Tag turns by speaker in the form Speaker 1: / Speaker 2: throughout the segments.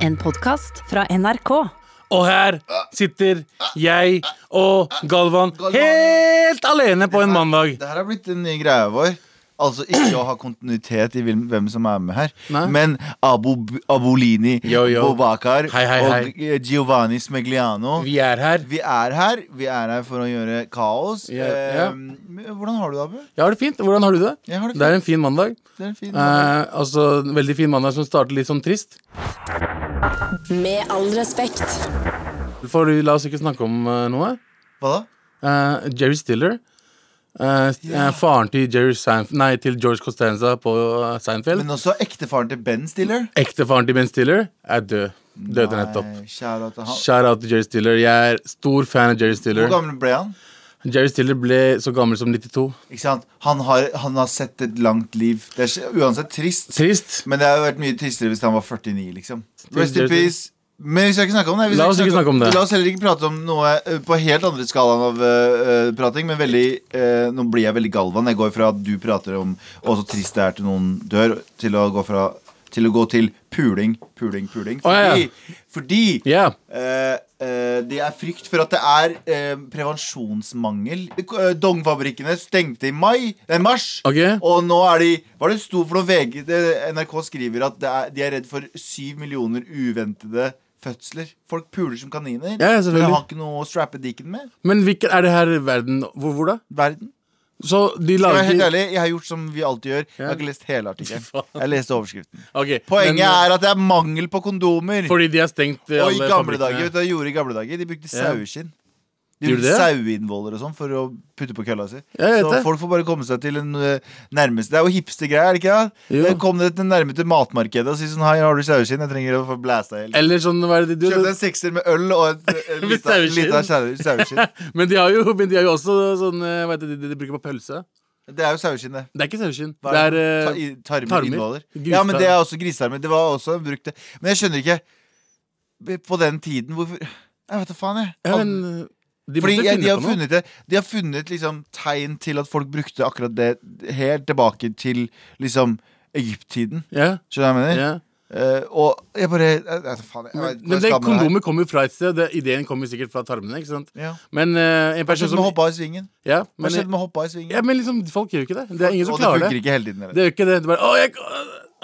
Speaker 1: En podkast fra NRK.
Speaker 2: Og her sitter jeg og Galvan helt alene på en mandag.
Speaker 3: Det her har blitt en ny greie vår. Altså ikke å ha kontinuitet i hvem hvem som er med her. Men Abu, Abolini,
Speaker 2: Yo, yo.
Speaker 3: Bobakar
Speaker 2: Hei, hei, hei.
Speaker 3: og eh, Giovanni Smegliano.
Speaker 2: Vi er her.
Speaker 3: Vi er her Vi er her for å gjøre kaos.
Speaker 2: Ja,
Speaker 3: Eh,
Speaker 2: ja.
Speaker 3: men hvordan har du det, Abu?
Speaker 2: Jeg har det fint. Hvordan har du det?
Speaker 3: Jeg har det fint.
Speaker 2: Det er en fin mandag.
Speaker 3: Det er fint.
Speaker 2: Eh, altså, en Veldig fin mandag som starter litt sånn trist.
Speaker 1: Med all respekt.
Speaker 2: For la oss ikke snakke om eh, noe.
Speaker 3: Hva da?
Speaker 2: Eh, Jerry Stiller. eh, st- eh, faren til, Jerry Seinf nei, til George Costanza på eh, Seinfeld.
Speaker 3: Men også ektefaren til Ben Stiller.
Speaker 2: Ektefaren til Ben Stiller er død. Døde nettopp.
Speaker 3: Nei, kjære at han
Speaker 2: Shout out til Jerry Stiller. Jeg er stor fan av Jerry
Speaker 3: Hvor
Speaker 2: Stiller.
Speaker 3: gammel ble han?
Speaker 2: Jerry Stiller ble så gammel som 92.
Speaker 3: Ikke sant? Han har, han har sett et langt liv. Det er s- uansett trist.
Speaker 2: Trist.
Speaker 3: Men det hadde vært mye tristere hvis han var 49, liksom.
Speaker 2: Trist,
Speaker 3: Rest in
Speaker 2: trist.
Speaker 3: peace. Men vi skal ikke snakke om det. Vi skal
Speaker 2: La oss ikke snakke om det.
Speaker 3: La oss heller ikke prate om noe eh, på helt andre skalaen av eh, eh, prating, men veldig eh, Nå blir jeg veldig galvan. Jeg går fra at du prater om å, så trist det er til noen dør, til å gå fra til å gå til puling, puling, puling.
Speaker 2: Å, ja, ja.
Speaker 3: Fordi, fordi
Speaker 2: Ja.
Speaker 3: eh, eh, det er frykt for at det er eh, prevensjonsmangel. Eh, Dongfabrikkene stengte i mai, nei, mars.
Speaker 2: Ok.
Speaker 3: Og nå er de Hva er det sto for noe VG det- NRK skriver at det er, de er redd for syv millioner uventede fødsler. Folk puler som kaniner.
Speaker 2: Ja, ja, selvfølgelig.
Speaker 3: men har ikke noe å strappe dikken med.
Speaker 2: Men hvilken er det her i verden Hvor, hvor da?
Speaker 3: Verden.
Speaker 2: Så de
Speaker 3: Jeg, er
Speaker 2: lager
Speaker 3: helt ærlig, jeg har gjort som vi alltid gjør. Jeg har ikke lest hele artikkelen. Jeg leste overskriften.
Speaker 2: Ok,
Speaker 3: Poenget
Speaker 2: men, eh,
Speaker 3: er at det er mangel på kondomer.
Speaker 2: Fordi de har stengt eh,
Speaker 3: og i
Speaker 2: alle
Speaker 3: gamle
Speaker 2: fabrikkene.
Speaker 3: dager, vet du hva de gjorde i gamle dager? De brukte
Speaker 2: Ja.
Speaker 3: saueskinn. De
Speaker 2: Gjorde
Speaker 3: brukte
Speaker 2: det?
Speaker 3: saueinnvoller og sånn for å putte på kølla si.
Speaker 2: Ja, jeg vet
Speaker 3: Så
Speaker 2: det.
Speaker 3: folk får bare komme seg til en eh, nærmeste Det er jo hipstergreier, er det ikke det?
Speaker 2: Jo.
Speaker 3: Det Kom dere til nærmeste matmarkedet og si sånn Hei, har du saueskinn? Jeg trenger å få blæsta i hjel.
Speaker 2: Eller sånn, hva er det de
Speaker 3: Kjøpte
Speaker 2: gjør?
Speaker 3: en sekser med øl og et, et
Speaker 2: Med
Speaker 3: lite
Speaker 2: saueskinn.
Speaker 3: lite av sau- saueskinn.
Speaker 2: Men de har jo, men de har jo også sånn eh, Hva heter det de, de bruker på pølse?
Speaker 3: Det er jo saueskinn, det.
Speaker 2: Det er ikke saueskinn.
Speaker 3: Hva
Speaker 2: Det
Speaker 3: er
Speaker 2: er
Speaker 3: det? Ta-
Speaker 2: eh,
Speaker 3: i- tarmer,
Speaker 2: tarmer.
Speaker 3: innvoller.
Speaker 2: Grisetarmer.
Speaker 3: Ja, men det er også grisearmer. Det var også brukt det. Men jeg skjønner ikke På den tiden hvorfor Jeg vet da faen, jeg.
Speaker 2: ja, men, eh, de
Speaker 3: Fordi
Speaker 2: måtte
Speaker 3: jeg,
Speaker 2: finne
Speaker 3: de, har
Speaker 2: på noe.
Speaker 3: funnet det, de har funnet liksom tegn til at folk brukte akkurat det helt tilbake til liksom Egypt-tiden.
Speaker 2: Ja,
Speaker 3: Skjønner du hva jeg mener?
Speaker 2: ja.
Speaker 3: Eh, og jeg bare jeg, jeg, vet da faen, jeg, jeg, vet ikke hvor
Speaker 2: Men det
Speaker 3: jeg skal med det her.
Speaker 2: kondomet kommer jo fra et sted. Det, ideen kommer sikkert fra tarmene. ikke sant?
Speaker 3: Ja.
Speaker 2: Men eh, en
Speaker 3: Hva
Speaker 2: person
Speaker 3: skjedde
Speaker 2: som
Speaker 3: med hoppa i svingen?
Speaker 2: ja,
Speaker 3: Hva
Speaker 2: men,
Speaker 3: skjedde med hoppa i svingen?
Speaker 2: ja, men liksom, folk gjør jo ikke det. Det er ingen som
Speaker 3: og det
Speaker 2: klarer det.
Speaker 3: funker ikke hele tiden. Eller?
Speaker 2: Det gjør ikke det. Du bare, «Å, jeg,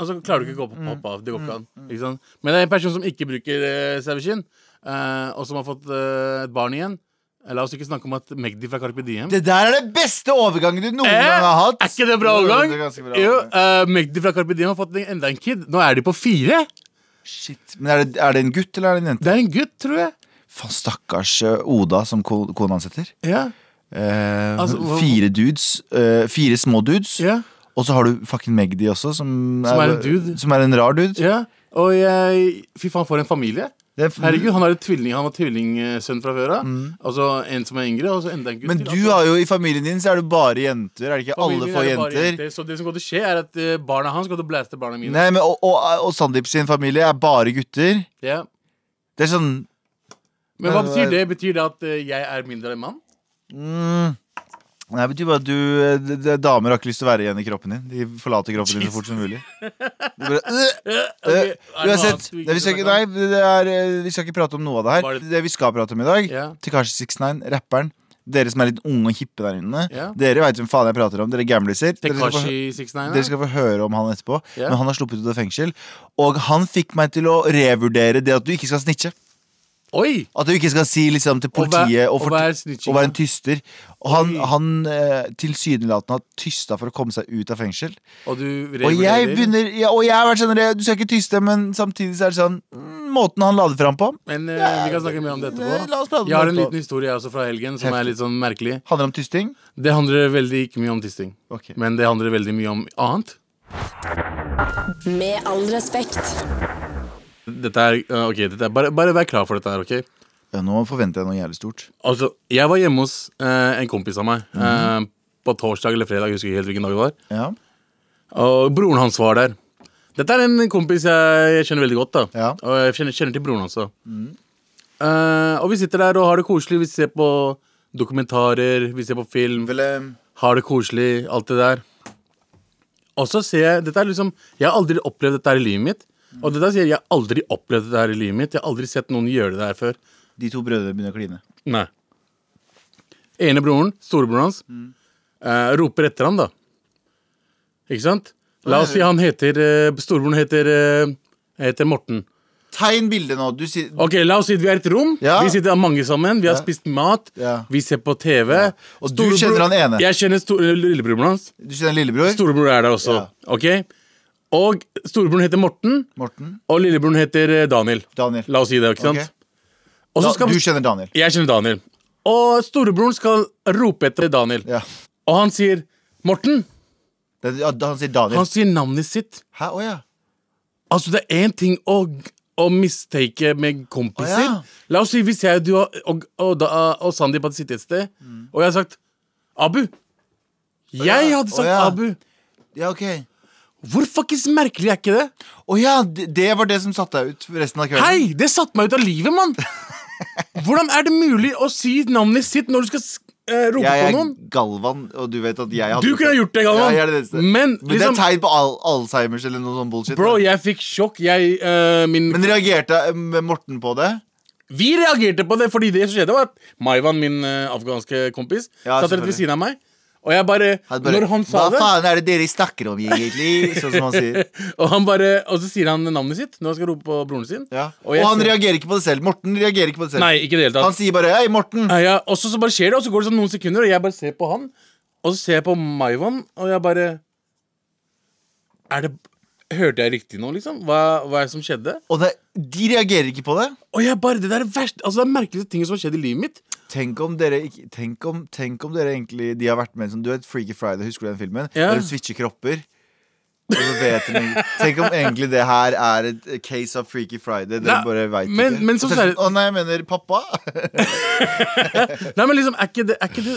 Speaker 2: og så klarer du ikke å gå
Speaker 3: Mm.
Speaker 2: på hoppe av. Det går ikke an. Ikke sant? Men det er en person som ikke bruker uh, saueskinn, eh, og som har fått eh, et barn igjen. Eh, La oss ikke snakke om at Magdi fra Carpe Diem
Speaker 3: Det der er den beste overgangen du noen
Speaker 2: Eh,
Speaker 3: gang har hatt!
Speaker 2: Er ikke det bra
Speaker 3: Jo,
Speaker 2: overgang?
Speaker 3: det er ganske bra
Speaker 2: Jo,
Speaker 3: overgang.
Speaker 2: eh, Magdi fra Carpe Diem har fått en- enda en kid. Nå er de på fire.
Speaker 3: Shit. Men er det, er det en gutt eller er det en jente?
Speaker 2: Det er en gutt, tror jeg.
Speaker 3: Faen, stakkars eh, Oda, som ko- kona hans heter.
Speaker 2: Ja.
Speaker 3: Eh,
Speaker 2: Altså, hva-
Speaker 3: fire dudes. eh, fire små dudes.
Speaker 2: ja.
Speaker 3: Og så har du fucking Magdi også, som,
Speaker 2: Som er en dude.
Speaker 3: Som er en rar dude.
Speaker 2: ja. Og jeg Fy faen, for en familie.
Speaker 3: Det er-
Speaker 2: Herregud, han har et tvilling, han har tvillingsønn fra før av. Altså en som er yngre, og så enda en gutt
Speaker 3: Mm. Men
Speaker 2: til.
Speaker 3: du
Speaker 2: Altså-
Speaker 3: har jo, i familien din så er det bare jenter. Er det ikke alle
Speaker 2: Familien
Speaker 3: får
Speaker 2: er jo bare
Speaker 3: jenter?
Speaker 2: Så det som kommer til å skje, er at eh, barna hans kommer til å blaste barna mine.
Speaker 3: Nei, men, og, og, og Sandeep sin familie er bare gutter.
Speaker 2: Ja.
Speaker 3: Det er sånn
Speaker 2: Men hva
Speaker 3: Nei,
Speaker 2: betyr
Speaker 3: nei.
Speaker 2: det? Betyr det at eh, jeg er mindre enn mann?
Speaker 3: mm, Nei, Det betyr bare at du eh, d- d- Damer har ikke lyst til å være igjen i kroppen din. De forlater kroppen din så fort som mulig. Du bare, øh,
Speaker 2: Eh, ok,
Speaker 3: øh,
Speaker 2: er det noe
Speaker 3: uansett,
Speaker 2: annet du
Speaker 3: nei, vi, skal,
Speaker 2: vil
Speaker 3: ikke-
Speaker 2: snakke
Speaker 3: nei,
Speaker 2: om?
Speaker 3: det er, eh, vi skal ikke prate om noe av det
Speaker 2: Var
Speaker 3: her.
Speaker 2: det-
Speaker 3: Det vi skal prate om i dag,
Speaker 2: Ja.
Speaker 3: Tekashi 69, rapperen. Dere som er litt unge og hippe der inne.
Speaker 2: Ja.
Speaker 3: Dere veit hvem faen jeg prater om. Dere gamliser. Dere skal få- Dere
Speaker 2: Tekashi69?
Speaker 3: skal få høre om han etterpå.
Speaker 2: Ja.
Speaker 3: Men han har sluppet ut av fengsel. Og han fikk meg til å revurdere det at du ikke skal snitche.
Speaker 2: Oi!
Speaker 3: At du ikke skal si liksom til
Speaker 2: Og hva-
Speaker 3: politiet
Speaker 2: og
Speaker 3: og, fort-
Speaker 2: hva er snitching,
Speaker 3: og være en
Speaker 2: da?
Speaker 3: tyster. Og han,
Speaker 2: Oi.
Speaker 3: han eh, tilsynelatende har tysta for å komme seg ut av fengsel.
Speaker 2: Og du
Speaker 3: Og jeg
Speaker 2: revurderer.
Speaker 3: begynner ja, Og jeg har vært sånn "Re, Du skal ikke tyste, men samtidig så er det sånn mm, Måten han la det fram på,
Speaker 2: Men eh, vi kan snakke mer om det
Speaker 3: eh, la oss
Speaker 2: etterpå.
Speaker 3: prate om
Speaker 2: Jeg har
Speaker 3: det
Speaker 2: en
Speaker 3: etterpå.
Speaker 2: liten historie jeg også fra helgen som er litt sånn merkelig.
Speaker 3: handler om tysting.
Speaker 2: Det handler veldig ikke mye om tisting,
Speaker 3: Ok.
Speaker 2: men det handler veldig mye om annet.
Speaker 1: Med all respekt.
Speaker 2: Dette er, eh, ok, dette er, bare, bare vær klar for dette her, ok?
Speaker 3: Ja, nå forventer jeg noe jævlig stort.
Speaker 2: Altså, jeg var hjemme hos eh, en kompis av meg eh,
Speaker 3: Mhm.
Speaker 2: på torsdag eller fredag. Jeg husker ikke helt hvilken dag det var.
Speaker 3: Ja,
Speaker 2: Og broren hans var der. Dette er en kompis jeg, jeg kjenner veldig godt. da
Speaker 3: Ja.
Speaker 2: Og jeg kjenner, kjenner til broren hans. da. Eh, og vi sitter der og har det koselig. Vi ser på dokumentarer, vi ser på film.
Speaker 3: Vel, eh,
Speaker 2: Har det koselig, alt det der. Og så ser jeg dette er liksom, Jeg har aldri opplevd dette her i livet mitt. Og det der sier jeg, jeg har aldri opplevd det her i livet mitt. Jeg har aldri sett noen gjøre det her før.
Speaker 3: De to brødrene begynner å kline.
Speaker 2: Nei. Ene broren, storebroren hans,
Speaker 3: Mm.
Speaker 2: eh, roper etter han da. Ikke sant? La oss si han heter eh, Storebroren heter, eh, heter Morten.
Speaker 3: Tegn bildet nå. Du sier
Speaker 2: Ok, La oss si at vi er i et rom.
Speaker 3: Ja.
Speaker 2: Vi sitter mange sammen. Vi har
Speaker 3: Ja.
Speaker 2: spist mat.
Speaker 3: Ja.
Speaker 2: Vi ser på TV.
Speaker 3: Og du kjenner han ene.
Speaker 2: Jeg kjenner sto- eh, lillebroren hans.
Speaker 3: Du kjenner lillebror?
Speaker 2: Storebror er der også.
Speaker 3: Ja.
Speaker 2: Ok? Og storebroren heter Morten,
Speaker 3: Morten?
Speaker 2: og lillebroren heter eh, Daniel.
Speaker 3: Daniel.
Speaker 2: La oss si det, ikke sant?
Speaker 3: Ok.
Speaker 2: Og så
Speaker 3: Da,
Speaker 2: skal
Speaker 3: du kjenner Daniel.
Speaker 2: Jeg kjenner Daniel. Og storebroren skal rope etter Daniel.
Speaker 3: Ja.
Speaker 2: Og han sier Morten.
Speaker 3: Det, ja, da- han sier Daniel.
Speaker 2: Han sier navnet sitt.
Speaker 3: Hæ? Å ja.
Speaker 2: Altså, det er én ting å, å mistake med kompiser.
Speaker 3: Å, ja.
Speaker 2: La oss si hvis jeg du og, og, og, da- og Sandeep hadde sittet et sted, og jeg hadde sagt Abu. Jeg hadde
Speaker 3: Å,
Speaker 2: sagt
Speaker 3: Mm. ja.
Speaker 2: Abu.
Speaker 3: Ja, ok.
Speaker 2: Hvor fuckings merkelig er ikke det?
Speaker 3: Å ja, det, det var det som satte deg ut for resten av kvelden?
Speaker 2: Hei! Det satte meg ut av livet, mann! Hvordan er det mulig å si navnet sitt når du skal s- eh, rope
Speaker 3: Jeg
Speaker 2: på
Speaker 3: er
Speaker 2: noen?
Speaker 3: Galvan, og du vet at jeg hadde
Speaker 2: Du kunne ha gjort det, Galvan.
Speaker 3: Ja, jeg er det eneste.
Speaker 2: Men,
Speaker 3: Men det
Speaker 2: liksom-
Speaker 3: er tegn på al Alzheimers eller noe sånn bullshit.
Speaker 2: Bro,
Speaker 3: da.
Speaker 2: jeg fikk sjokk. Jeg, eh, min,
Speaker 3: Men reagerte eh, Morten på det?
Speaker 2: vi reagerte på det, fordi det som skjedde, var at Maivan, min eh, afghanske kompis,
Speaker 3: Ja,
Speaker 2: satt rett ved
Speaker 3: selvfølgelig.
Speaker 2: siden av meg. Og jeg bare,
Speaker 3: Han bare,
Speaker 2: Når han sa
Speaker 3: Hva
Speaker 2: det,
Speaker 3: faen er det dere snakker om, egentlig? Sånn som han sier.
Speaker 2: og, han bare, og så sier han navnet sitt når han skal rope på broren sin.
Speaker 3: Ja.
Speaker 2: Og
Speaker 3: Og,
Speaker 2: jeg
Speaker 3: han
Speaker 2: ser-
Speaker 3: reagerer ikke på det selv. Morten reagerer ikke på det selv.
Speaker 2: Nei, ikke i det hele
Speaker 3: Han
Speaker 2: tatt.
Speaker 3: sier bare 'hei, Morten'.
Speaker 2: Ja, ja, og så, så bare skjer det, og så går det sånn noen sekunder, og jeg bare ser på han, og så ser jeg på Maivan, og jeg bare Er det Hørte jeg riktig nå, liksom? Hva, hva er det som skjedde?
Speaker 3: Og det, de reagerer ikke på det.
Speaker 2: Og jeg bare, Det der er verst, altså det er merkeligste ting som har skjedd i livet mitt.
Speaker 3: Tenk om dere ikke, tenk om, tenk om dere egentlig De har vært med som, Du vet Freaky Friday, husker du den filmen?
Speaker 2: Ja.
Speaker 3: Der de switcher kropper Og så vet de ikke- Tenk om egentlig det her er et case of Freaky Friday Dere
Speaker 2: Nei,
Speaker 3: bare vet
Speaker 2: men-
Speaker 3: ikke
Speaker 2: men så
Speaker 3: Og er det
Speaker 2: ser-
Speaker 3: sånn, Å nei, jeg mener pappa
Speaker 2: Nei, men liksom, er ikke det, er ikke det,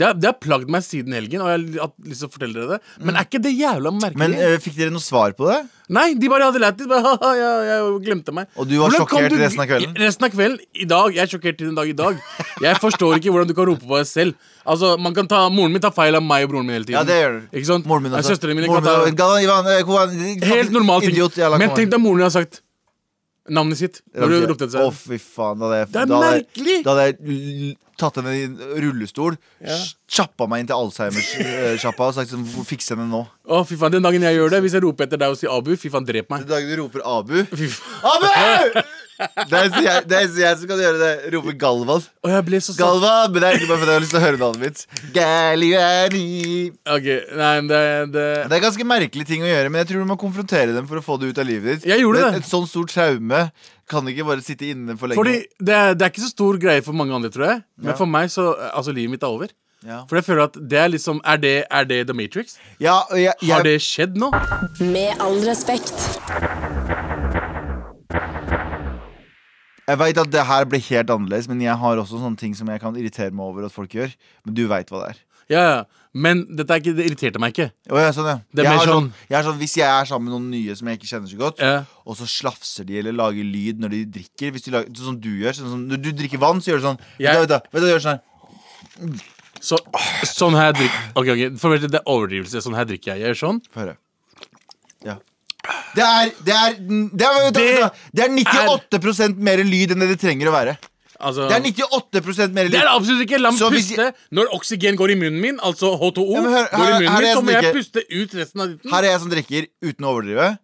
Speaker 2: det, har, det har plagd meg siden helgen, og jeg har li- hatt lyst til å fortelle dere det. Men er ikke det jævla merkelig?
Speaker 3: Men eh, fikk dere noe svar på det?
Speaker 2: Nei, de bare hadde lært det. Bare, haha, jeg, jeg glemte meg.
Speaker 3: Og du var
Speaker 2: Hvordan kan
Speaker 3: sjokkert resten av kvelden?
Speaker 2: Resten av kvelden, i dag, Jeg er sjokkert til den dag i dag. Jeg forstår ikke hvordan du kan rope på deg selv. Altså, man kan ta, Moren min tar feil av meg og broren min hele tiden.
Speaker 3: Ja, det gjør du
Speaker 2: Ikke sant?
Speaker 3: Moren min også
Speaker 2: Søstrene mine
Speaker 3: Moren
Speaker 2: kan ta
Speaker 3: min også. Galvan, Ivan, eh, Kovan, eh,
Speaker 2: helt normale ting.
Speaker 3: Idiot, jævla
Speaker 2: men
Speaker 3: Kovan.
Speaker 2: tenk deg moren din har sagt navnet sitt. Når du ropte etter
Speaker 3: Å,
Speaker 2: seg.
Speaker 3: fy faen. Da hadde jeg,
Speaker 2: Det er
Speaker 3: da hadde jeg-
Speaker 2: merkelig!
Speaker 3: Da hadde jeg l- tatt henne i en rullestol, sj- kjappa meg inn til Alzheimer-sjappa og sagt sånn Fiks henne nå.
Speaker 2: Å, fy faen, Den dagen jeg gjør det, hvis jeg roper etter deg og sier Abu, fy faen, drep meg.
Speaker 3: Den dagen du roper Abu
Speaker 2: Fy faen.
Speaker 3: Abu! Det er så jeg, det er så jeg som kan gjøre det. Roper Galvan.
Speaker 2: Og jeg ble så satt
Speaker 3: Galvan! Men det er ikke bare fordi jeg har lyst til å høre navnet mitt. Galliani.
Speaker 2: Ok, nei, men det, det
Speaker 3: Det er ganske merkelige ting å gjøre, men jeg tror du må konfrontere dem for å få det ut av livet ditt.
Speaker 2: Jeg gjorde
Speaker 3: men
Speaker 2: det.
Speaker 3: Et sånn stort traume kan ikke bare sitte inne for lenge.
Speaker 2: Fordi det er, det er ikke så stor greie for mange andre, tror jeg. Men
Speaker 3: Ja.
Speaker 2: for meg så Altså, livet mitt er over.
Speaker 3: ja.
Speaker 2: For jeg føler at det er liksom Er det, er det The Matrix?
Speaker 3: Ja, og jeg, jeg,
Speaker 2: Har det skjedd nå?
Speaker 1: Med all respekt.
Speaker 3: Jeg vet at det her ble helt annerledes, men jeg har også sånne ting som jeg kan irritere meg over at folk gjør. Men du veit hva det er.
Speaker 2: Ja, ja. Men dette er ikke, det irriterte meg ikke.
Speaker 3: Å, ja, sånn, ja.
Speaker 2: Det er
Speaker 3: jeg
Speaker 2: mer
Speaker 3: har sånn,
Speaker 2: sånn-
Speaker 3: jeg har sånn, hvis jeg er sammen med noen nye som jeg ikke kjenner så godt,
Speaker 2: Ja.
Speaker 3: og så slafser de eller lager lyd når de drikker hvis de lager, Sånn som du gjør. Sånn, som- når du drikker vann, så gjør du sånn.
Speaker 2: Jeg-
Speaker 3: Vet du, vet du, vet du, gjør sånn her.
Speaker 2: Så, sånn her drikker Ok, ok, for det er overdrivelse. Sånn her drikker jeg. Jeg gjør sånn.
Speaker 3: Få høre. Ja. Det er Det er, det er, vet du,
Speaker 2: Det
Speaker 3: vet du, det er 98 mer lyd enn det det trenger å være.
Speaker 2: Altså,
Speaker 3: Det er 98 mer lyd.
Speaker 2: det er det absolutt ikke! La meg
Speaker 3: Så hvis
Speaker 2: puste. Når oksygen går i munnen min, altså H2O,
Speaker 3: Ja, men hør, her-
Speaker 2: går i munnen
Speaker 3: her er
Speaker 2: min,
Speaker 3: jeg
Speaker 2: så
Speaker 3: som
Speaker 2: må jeg
Speaker 3: ikke-
Speaker 2: puste ut resten av ditten.
Speaker 3: Her er jeg som drikker, uten å overdrive.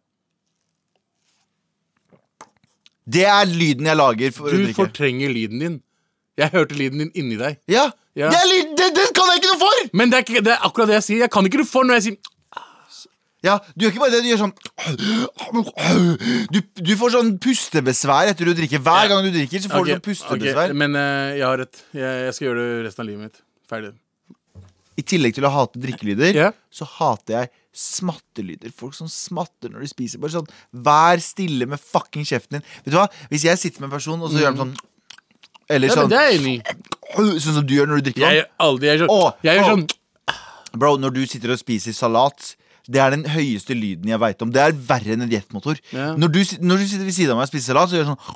Speaker 3: Det er lyden jeg lager for å
Speaker 2: Du
Speaker 3: drikke.
Speaker 2: fortrenger lyden din. Jeg hørte lyden din inni deg.
Speaker 3: Ja,
Speaker 2: Ja.
Speaker 3: Det, er lyd, det, det kan jeg ikke noe for!
Speaker 2: Men det er, ikke, det er akkurat det jeg sier. Jeg kan ikke du får når jeg sier
Speaker 3: Ja, Du gjør ikke bare det, du gjør sånn Du, du får sånn pustebesvær etter du drikker. Hver gang du drikker, så får
Speaker 2: Ok,
Speaker 3: du sånn pustebesvær.
Speaker 2: ok, Men eh, jeg har rett. Jeg, jeg skal gjøre det resten av livet mitt. Ferdig.
Speaker 3: I tillegg til å hate drikkelyder,
Speaker 2: Ja.
Speaker 3: så hater jeg smattelyder. Folk som smatter når de spiser. Bare sånn, Vær stille med fucking kjeften din. Vet du hva? Hvis jeg sitter med en person, og så gjør de sånn
Speaker 2: Mm.
Speaker 3: Eller
Speaker 2: Ja, men
Speaker 3: sånn
Speaker 2: det er jeg enig i.
Speaker 3: Sånn som du gjør når du drikker
Speaker 2: Jeg
Speaker 3: vann.
Speaker 2: gjør aldri Jeg gjør
Speaker 3: Åh,
Speaker 2: sånn. Jeg gjør
Speaker 3: åh.
Speaker 2: sånn
Speaker 3: Bro, når du sitter og spiser salat det er den høyeste lyden jeg veit om. Det er verre enn en jetmotor.
Speaker 2: Ja.
Speaker 3: Når, du, sit- når du sitter ved siden av meg og spiser salat, så gjør jeg sånn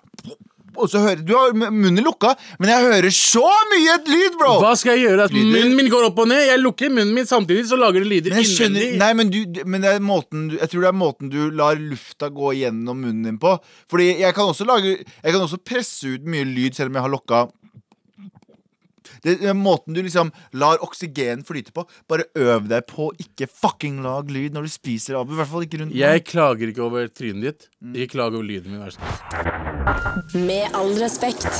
Speaker 3: og så hører Du har m- munnen lukka, men jeg hører så mye lyd, bro!
Speaker 2: Hva skal jeg gjøre? At
Speaker 3: Lyder.
Speaker 2: munnen min går opp og ned? Jeg lukker munnen min samtidig, så lager det lyder
Speaker 3: Men jeg skjønner
Speaker 2: innvendig.
Speaker 3: Nei, men, du, men det er måten, du- jeg tror det er måten du lar lufta gå gjennom munnen din på. Fordi jeg kan også, lage, jeg kan også presse ut mye lyd selv om jeg har lokka det er måten du liksom lar oksygen flyte på. Bare øv deg på å ikke fucking lag lyd når du spiser abu. I hvert fall ikke rundt
Speaker 2: Jeg klager ikke over trynet ditt. Ikke klag over lyden min. vær så snill.
Speaker 1: Med all respekt.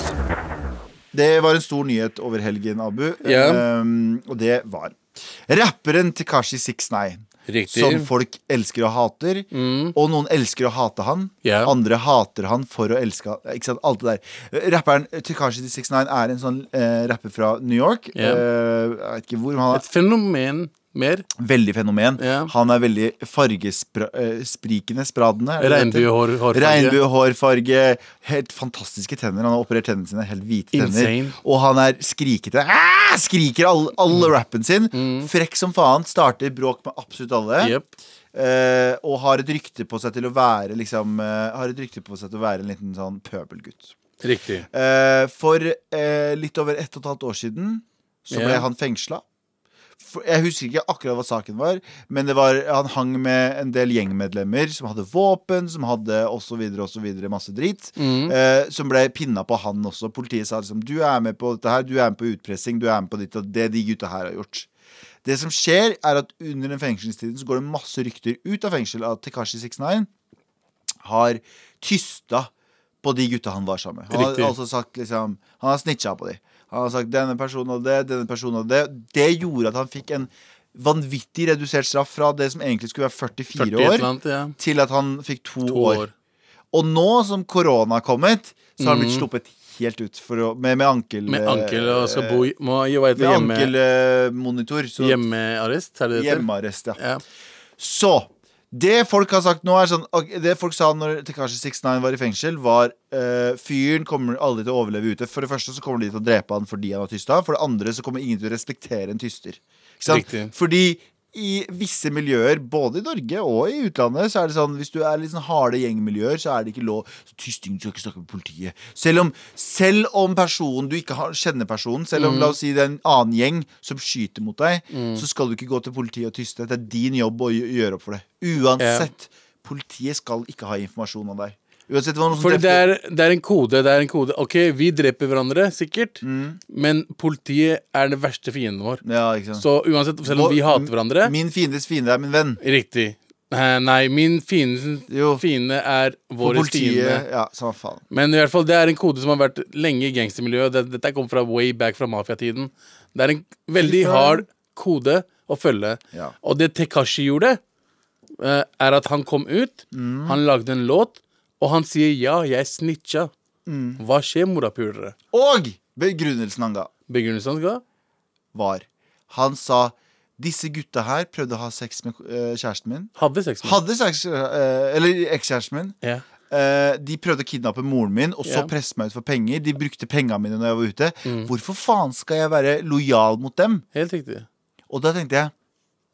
Speaker 3: Det var en stor nyhet over helgen, Abu.
Speaker 2: Ja.
Speaker 3: Ehm, og det var rapperen Tekashi 69.
Speaker 2: Riktig.
Speaker 3: Som folk elsker og hater. Og noen elsker å hate han.
Speaker 2: Mm. Ja.
Speaker 3: Andre hater han for å elske han. Ikke sant? Alt det der. Rapperen Tekashi 69 er en sånn eh, rapper fra New York.
Speaker 2: Ja.
Speaker 3: Eh, jeg vet ikke hvor, men han er
Speaker 2: Et fenomen mer.
Speaker 3: veldig fenomen.
Speaker 2: Ja.
Speaker 3: Han er veldig fargesprikende, spradende. er det det heter?
Speaker 2: Regnbuehår- hårfarge.
Speaker 3: Regnbuehårfarge. Helt fantastiske tenner. Han har operert tennene sine, helt hvite
Speaker 2: Insane. Mm.
Speaker 3: tenner. Og han er skrikete. Ah! Skriker all, all rappen sin. Frekk som faen. Starter bråk med absolutt alle.
Speaker 2: Jep.
Speaker 3: Eh, og har et rykte på seg til å være liksom, eh, Har et rykte på seg til å være en liten sånn pøbelgutt.
Speaker 2: Riktig.
Speaker 3: Eh, for eh, litt over ett og et halvt år siden så ble
Speaker 2: Ja.
Speaker 3: han fengsla. For- Jeg husker ikke akkurat hva saken var, men det var, han hang med en del gjengmedlemmer som hadde våpen, som hadde osv. osv. masse drit. Eh, som ble pinna på han også. Politiet sa liksom du er med på dette her, du er med på utpressing, du er med på ditt og det de gutta her har gjort. Det som skjer, er at under den fengselstiden så går det masse rykter ut av fengsel at Tekashi 69 har tysta på de gutta han var sammen med. Han har
Speaker 2: Riktig.
Speaker 3: altså sagt liksom Han har snitcha på de. Han har sagt 'denne personen og det, denne personen og det'. Det gjorde at han fikk en vanvittig redusert straff fra det som egentlig skulle være 44
Speaker 2: 40 et eller
Speaker 3: år,
Speaker 2: annet, ja.
Speaker 3: til at han fikk to,
Speaker 2: To
Speaker 3: år.
Speaker 2: år.
Speaker 3: Og nå som korona har kommet, så har han blitt sluppet helt ut for å, med, med ankel...
Speaker 2: Mhm.
Speaker 3: eh,
Speaker 2: Med ankel og skal bo i- Må jo
Speaker 3: Med
Speaker 2: være hjemme,
Speaker 3: ankelmonitor. så-
Speaker 2: hjemmearrest, er det det heter?
Speaker 3: Hjemmearrest, ja.
Speaker 2: Ja.
Speaker 3: Så det folk har sagt nå er sånn ok, Det folk sa når Tekashi 69 var i fengsel, var eh, fyren kommer aldri til å overleve ute. For det første så kommer de til å drepe han fordi han har tysta. For det andre så kommer ingen til å respektere en tyster. Ikke sant?
Speaker 2: Riktig.
Speaker 3: Fordi i visse miljøer, både i Norge og i utlandet, så er det sånn hvis du er litt sånn harde gjengmiljøer, så er det ikke lov. Så tysting, du skal ikke snakke med politiet. Selv om, selv om personen du ikke har, kjenner personen, selv
Speaker 2: Mm.
Speaker 3: om la oss si det er en annen gjeng som skyter mot deg, så skal du ikke gå til politiet og tyste. Det er din jobb å gjø- gjøre opp for det. Uansett. Politiet skal ikke ha informasjon om deg. Uansett hva noen som
Speaker 2: Fordi det
Speaker 3: drepte-
Speaker 2: er, det er en kode. Det er en kode Ok, vi dreper hverandre, sikkert,
Speaker 3: Mm.
Speaker 2: men politiet er den verste fienden vår.
Speaker 3: ja, ikke sant?
Speaker 2: Så uansett, selv om vi
Speaker 3: Vår-
Speaker 2: hater hverandre
Speaker 3: Min fiendes fiende er min venn.
Speaker 2: Riktig. Eh, Nei, min fiende,
Speaker 3: Jo.
Speaker 2: fiende er
Speaker 3: Og
Speaker 2: vår fiende.
Speaker 3: politiet Ja, samme faen.
Speaker 2: Men i hvert fall, det er en kode som har vært lenge i gangstermiljøet. Det- Dette kommer fra way back fra mafiatiden. Det er en veldig hard kode å følge.
Speaker 3: Ja.
Speaker 2: Og det Tekashi gjorde, eh, er at han kom ut,
Speaker 3: Mm.
Speaker 2: han lagde en låt, og han sier 'ja, jeg snitcha'.
Speaker 3: Mm.
Speaker 2: Hva skjer, morapulere?
Speaker 3: Og begrunnelsen han ga,
Speaker 2: Begrunnelsen hans ga?
Speaker 3: var Han sa disse gutta her prøvde å ha sex med eh, kjæresten min.
Speaker 2: Hadde sex med
Speaker 3: Hadde sex eh, Eller ekskjæresten min.
Speaker 2: Ja.
Speaker 3: Eh, de prøvde å kidnappe moren min og så
Speaker 2: Ja. Mm.
Speaker 3: presse meg ut for penger. De brukte penga mine når jeg var ute. Hvorfor faen skal jeg være lojal mot dem?
Speaker 2: Helt riktig.
Speaker 3: Og da tenkte jeg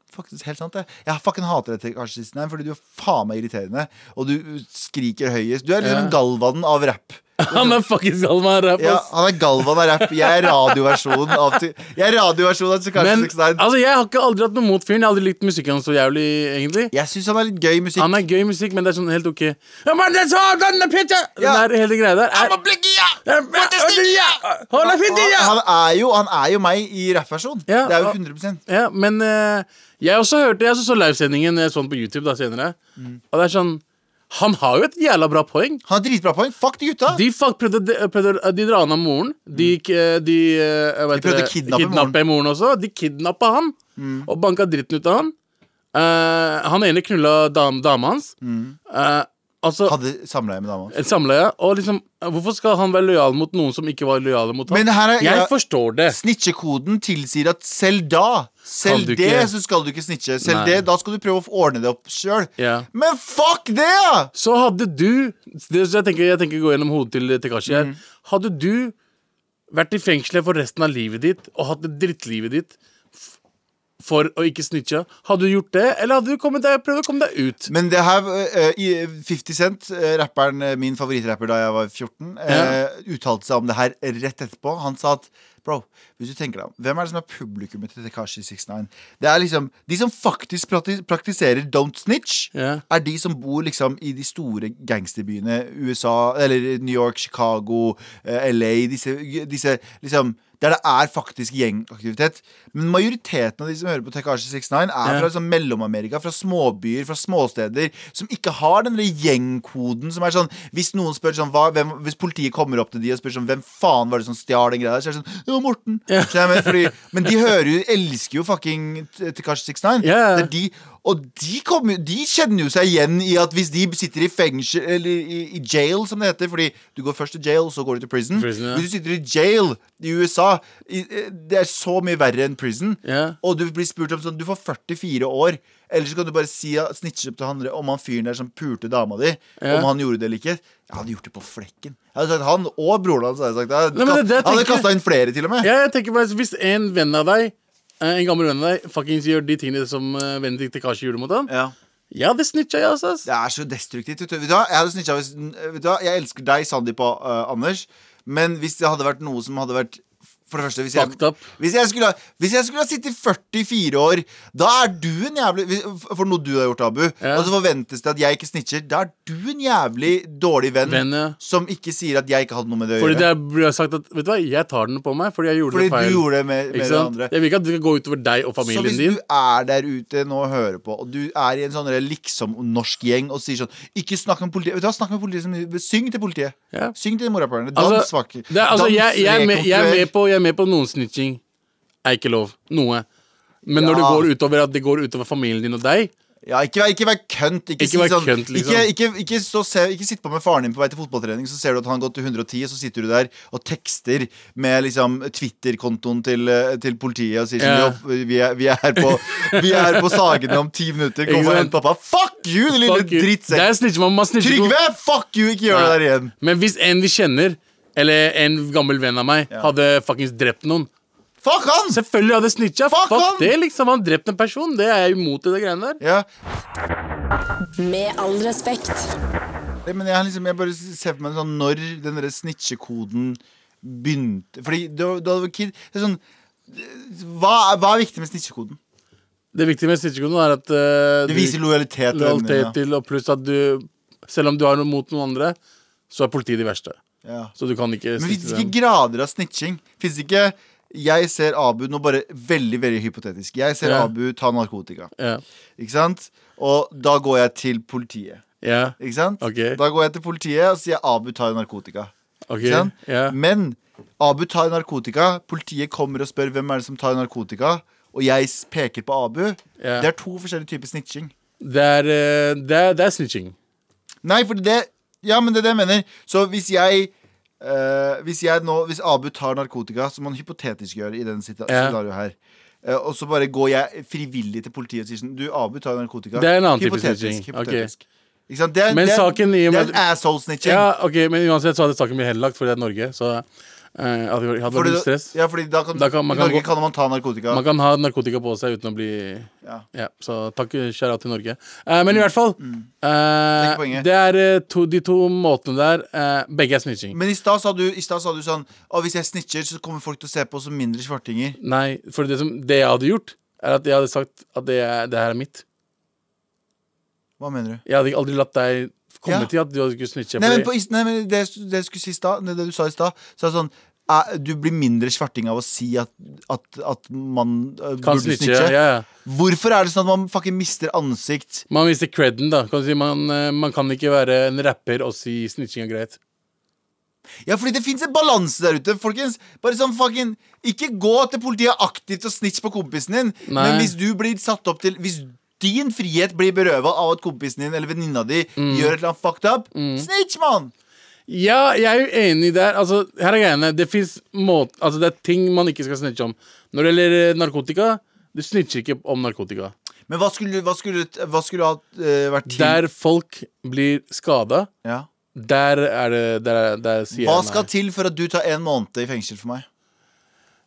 Speaker 3: Faktisk helt sant det Jeg fucking hater dette karsisten her Fordi du er faen meg irriterende Og du skriker høyest Du er
Speaker 2: Ja.
Speaker 3: liksom galvanen av rap
Speaker 2: Han er fuckings Salman Raff,
Speaker 3: ja,
Speaker 2: ass.
Speaker 3: Han er galvanen av rap Jeg er radioversjonen av Ty- Jeg er radioversjonen av
Speaker 2: Men
Speaker 3: Tekashi 69
Speaker 2: altså, jeg har ikke aldri hatt noe mot fyren. Jeg har aldri likt musikken hans så jævlig, egentlig.
Speaker 3: Jeg synes han er litt gøy i musikk
Speaker 2: Han er gøy musikk, men det er sånn helt ok. Ja, men det sa denne pitcha!
Speaker 3: Ja.
Speaker 2: Den der hele greia der er
Speaker 3: I'm a blinky, ja!
Speaker 2: Hold deg fint i, ja!
Speaker 3: han, han er jo, han er jo meg i rappversjon
Speaker 2: Ja,
Speaker 3: Det er jo
Speaker 2: og-
Speaker 3: 100%
Speaker 2: ja men eh, jeg også hørte Jeg også så livesendingen jeg så den på YouTube da senere.
Speaker 3: Mm.
Speaker 2: Og det er sånn Han har jo et jævla bra poeng.
Speaker 3: Han har dritbra poeng Fuck de gutta
Speaker 2: De fuck prøvde, de, eh, prøvde De dra han av moren. De, k- eh, de, eh, hva
Speaker 3: Mm. De
Speaker 2: heter
Speaker 3: prøvde
Speaker 2: det?
Speaker 3: å kidnappe Mm.
Speaker 2: Kidnappe moren også. De kidnappa han og banka dritten ut av han. Eh, han ene knulla dam, dama hans.
Speaker 3: Mm.
Speaker 2: Eh, altså
Speaker 3: Hadde samleie med dama
Speaker 2: Et samleie. Og liksom, hvorfor skal han være lojal mot noen som ikke var lojale mot ham?
Speaker 3: Men her er-
Speaker 2: jeg
Speaker 3: ja.
Speaker 2: forstår det.
Speaker 3: Snitchekoden tilsier at selv da Selv
Speaker 2: du
Speaker 3: det
Speaker 2: ikke-
Speaker 3: så skal du ikke snitche. Selv
Speaker 2: Nei.
Speaker 3: det, Da skal du prøve å ordne det opp sjøl.
Speaker 2: Ja.
Speaker 3: Men fuck det! ja!
Speaker 2: Så hadde du det, så jeg, tenker, jeg tenker gå gjennom hodet til Tekashi
Speaker 3: Mm.
Speaker 2: her. Hadde du vært i fengselet for resten av livet ditt og hatt det drittlivet ditt f- for å ikke snitche. Hadde du gjort det, eller hadde du kommet deg, prøvd å komme deg ut?
Speaker 3: Men det her eh, i- 50 Cent, eh, rapperen, eh, min favorittrapper da jeg var 14, eh, uttalte seg om det her rett etterpå. Han sa at Bro, hvis du tenker deg om, hvem er det som er publikummet til Tekashi 69? Det er liksom De som faktisk prakti- praktiserer don't snitch,
Speaker 2: Ja.
Speaker 3: er de som bor liksom i de store gangsterbyene. USA, eller New York, Chicago, eh, LA. Disse, disse liksom der det er faktisk gjengaktivitet. Men majoriteten av de som hører på Tekashi 69, er
Speaker 2: Ja.
Speaker 3: fra liksom Mellom-Amerika, fra småbyer, fra småsteder, som ikke har den der gjengkoden som er sånn Hvis noen spør sånn hva, hvem, Hvis politiet kommer opp til de og spør sånn Hvem faen var det som stjal den greia der? Så er det sånn Jo, Morten. Skjønner jeg, men, fordi, men de hører jo Elsker jo fucking T- Tekashi 69.
Speaker 2: Ja.
Speaker 3: Det er de og de, kommer- de kjenner jo seg igjen i at hvis de sitter i fengsel Eller i, i jail, som det heter. Fordi du går først til jail, så går du til prison.
Speaker 2: Prison, ja.
Speaker 3: Hvis du sitter i jail i USA, i, eh, det er så mye verre enn prison.
Speaker 2: Ja.
Speaker 3: Og du blir spurt om sånn Du får 44 år. Eller så kan du bare si ja, snitche opp til han om han fyren der som pulte dama di.
Speaker 2: Ja.
Speaker 3: Om han gjorde det eller ikke. Jeg hadde gjort det på flekken. Jeg hadde sagt Han og broren hans hadde jeg sagt det.
Speaker 2: Nei, men det er det jeg
Speaker 3: Jeg hadde
Speaker 2: tenker.
Speaker 3: kasta inn flere, til og med.
Speaker 2: Ja, jeg tenker bare, Hvis en venn av deg eh, en gammel venn av deg fuckings gjør de tingene som eh, vennen til Tekashi gjorde mot han.
Speaker 3: Ja.
Speaker 2: Ja, det snitcha jeg også. ass.
Speaker 3: Det er så destruktivt. Vet du, vet du, hva? jeg hadde snitchet hvis, vet du, hva? jeg elsker deg, Sandeep og øh, Anders, men hvis det hadde vært noe som hadde vært for det første, hvis
Speaker 2: Fucked
Speaker 3: jeg,
Speaker 2: up.
Speaker 3: hvis, jeg skulle, ha- hvis jeg skulle ha sittet i 44 år, da er du en jævlig hvis- For noe du har gjort, Abu,
Speaker 2: Ja.
Speaker 3: og så forventes det at jeg ikke snitcher, da er du en jævlig dårlig venn,
Speaker 2: Venn, ja.
Speaker 3: som ikke sier at jeg ikke hadde noe med det å
Speaker 2: Fordi
Speaker 3: gjøre.
Speaker 2: det blir sagt at Vet du hva, jeg tar den på meg fordi jeg gjorde
Speaker 3: fordi
Speaker 2: det feil.
Speaker 3: du gjorde det med,
Speaker 2: Ikke
Speaker 3: med det
Speaker 2: sant?
Speaker 3: andre.
Speaker 2: Jeg vil ikke at det skal gå utover deg og
Speaker 3: Så
Speaker 2: familien
Speaker 3: hvis
Speaker 2: din.
Speaker 3: du er der ute nå og hører på, og du er i en sånn der liksom norsk gjeng og sier sånn Ikke snakk med politiet. Vet du hva, snakk med politiet som Syng til politiet.
Speaker 2: Ja.
Speaker 3: Syng til morapulerne. Dans
Speaker 2: Altså,
Speaker 3: vakker.
Speaker 2: det er, altså
Speaker 3: Dans,
Speaker 2: jeg, jeg, er med, jeg, er
Speaker 3: rekonstruer.
Speaker 2: med på, jeg er med på noen snitching. Er ikke lov. Noe. Men når det
Speaker 3: Ja.
Speaker 2: går utover at det går utover familien din og deg
Speaker 3: Ja, ikke, vær- ikke vær kønt. Ikke,
Speaker 2: Ikke
Speaker 3: si
Speaker 2: vær
Speaker 3: sånn,
Speaker 2: kønt, liksom.
Speaker 3: ikke, ikke, ikke, så se, ikke sitt på med faren din på vei til fotballtrening, så ser du at han har gått til 110, og så sitter du der og tekster med liksom Twitter-kontoen til, eh, til politiet og sier sånn
Speaker 2: Ja.
Speaker 3: «Jo, vi, er, vi, er på, vi er på Sagene om ti minutter,
Speaker 2: Ikke
Speaker 3: kom og
Speaker 2: sant?
Speaker 3: hent pappa. Fuck you, din lille
Speaker 2: Fuck you. Det
Speaker 3: drittsekk.
Speaker 2: er snitching, man, man snitcher ikke-
Speaker 3: Trygve, fuck you, ikke gjør det der igjen.
Speaker 2: Men hvis en vi kjenner, eller en gammel venn av meg,
Speaker 3: Ja.
Speaker 2: hadde fuckings drept noen
Speaker 3: Fuck han!
Speaker 2: Selvfølgelig hadde jeg snitcha.
Speaker 3: Fuck
Speaker 2: Fuck,
Speaker 3: han!
Speaker 2: det, liksom. Han drept en person. Det er jeg imot i det greiene der.
Speaker 3: Ja,
Speaker 1: Med all respekt.
Speaker 3: det- men jeg, har liksom, jeg bare ser for meg sånn når den derre snitchekoden begynte Fordi da da du var kid det er sånn, hva, er- hva er viktig med snitchekoden?
Speaker 2: Det viktige med snitchekoden er at eh,
Speaker 3: Det
Speaker 2: du-
Speaker 3: viser lojalitet. til
Speaker 2: lojalitet
Speaker 3: vennene dine,
Speaker 2: til, og pluss at du Selv om du har noe mot noen andre, så er politiet de verste.
Speaker 3: Ja. Ja.
Speaker 2: Så du kan ikke
Speaker 3: Men fins
Speaker 2: snitche
Speaker 3: det
Speaker 2: dem.
Speaker 3: ikke grader av snitching? Fins det ikke Jeg ser Abu nå bare veldig veldig hypotetisk. Jeg ser
Speaker 2: Ja.
Speaker 3: Abu ta narkotika.
Speaker 2: Ja.
Speaker 3: Ikke sant? Og da går jeg til politiet.
Speaker 2: ja.
Speaker 3: Ikke sant?
Speaker 2: Ok.
Speaker 3: Da går jeg til politiet og sier Abu tar narkotika.
Speaker 2: Ok,
Speaker 3: Ikke sant?
Speaker 2: ja.
Speaker 3: Men Abu tar narkotika, politiet kommer og spør hvem er det som tar narkotika, og jeg s- peker på Abu.
Speaker 2: Ja.
Speaker 3: Det er to forskjellige typer snitching.
Speaker 2: Det er, eh, det er, det er snitching.
Speaker 3: Nei, for det Ja, men det er det jeg mener. Så hvis jeg eh, hvis, jeg nå, hvis Abu tar narkotika, som han hypotetisk gjør i den situ-
Speaker 2: Ja.
Speaker 3: scenarioet her, eh, og så bare går jeg frivillig til politiet og sier sånn Du, Abu tar narkotika.
Speaker 2: Det er en annen type
Speaker 3: hypotetisk,
Speaker 2: snitching. Ok.
Speaker 3: hypotetisk. Ikke sant? Det er,
Speaker 2: Men
Speaker 3: det er,
Speaker 2: saken i og
Speaker 3: det
Speaker 2: med
Speaker 3: er en asshole-snitching.
Speaker 2: Ja, ok, Men uansett så hadde saken blitt henlagt, fordi det er Norge. Så eh, hadde det hadde vært
Speaker 3: Fordi
Speaker 2: litt
Speaker 3: da-
Speaker 2: stress.
Speaker 3: Ja, fordi da kan,
Speaker 2: Da kan- man
Speaker 3: I
Speaker 2: kan
Speaker 3: Norge
Speaker 2: gå-
Speaker 3: kan man ta narkotika.
Speaker 2: Man kan ha narkotika på seg uten å bli
Speaker 3: Ja.
Speaker 2: Ja, så takk, kjære til Norge. Eh, men i hvert fall eh,
Speaker 3: Det er ikke Mm. poenget.
Speaker 2: Det er eh, to, de to måtene der. eh, begge er snitching.
Speaker 3: Men i stad sa, du- i stad sa du sånn Å, hvis jeg snitcher, så kommer folk til å se på som mindre svartinger.
Speaker 2: Nei, for det, som, det jeg hadde gjort, er at jeg hadde sagt at det, er, det her er mitt.
Speaker 3: Hva mener du?
Speaker 2: Jeg hadde aldri latt deg komme
Speaker 3: Ja.
Speaker 2: til at du hadde skulle snitche.
Speaker 3: Nei, men,
Speaker 2: fordi-
Speaker 3: på, is- nei, men det, det, jeg skulle si i stad, det, det du sa i stad, så er det sånn «Æ, Du blir mindre svarting av å si at, at, at man øh,
Speaker 2: kan
Speaker 3: burde
Speaker 2: snitche.
Speaker 3: snitche.
Speaker 2: Ja, ja.
Speaker 3: Hvorfor er det sånn at man fucking mister ansikt?
Speaker 2: Man mister creden, da. Kan du si, man, eh, man kan ikke være en rapper og si snitching er greit.
Speaker 3: Ja, fordi det fins en balanse der ute, folkens. Bare sånn fucking Ikke gå til politiet aktivt og snitch på kompisen din,
Speaker 2: Nei.
Speaker 3: men hvis du blir satt opp til Hvis din frihet blir berøva av at kompisen din eller venninna di
Speaker 2: Mm.
Speaker 3: gjør et eller annet fucked up, snitch, mann!
Speaker 2: Ja, jeg er jo enig der. Altså, her er greiene. Det fins måter Altså, det er ting man ikke skal snitche om. Når det gjelder eh, narkotika, du snitcher ikke om narkotika.
Speaker 3: Men hva skulle, hva skulle, hva skulle ha eh, vært til?
Speaker 2: Der folk blir skada,
Speaker 3: ja.
Speaker 2: der er det Der, der sier
Speaker 3: Hva
Speaker 2: jeg nei.
Speaker 3: skal til for at du tar en måned i fengsel for meg?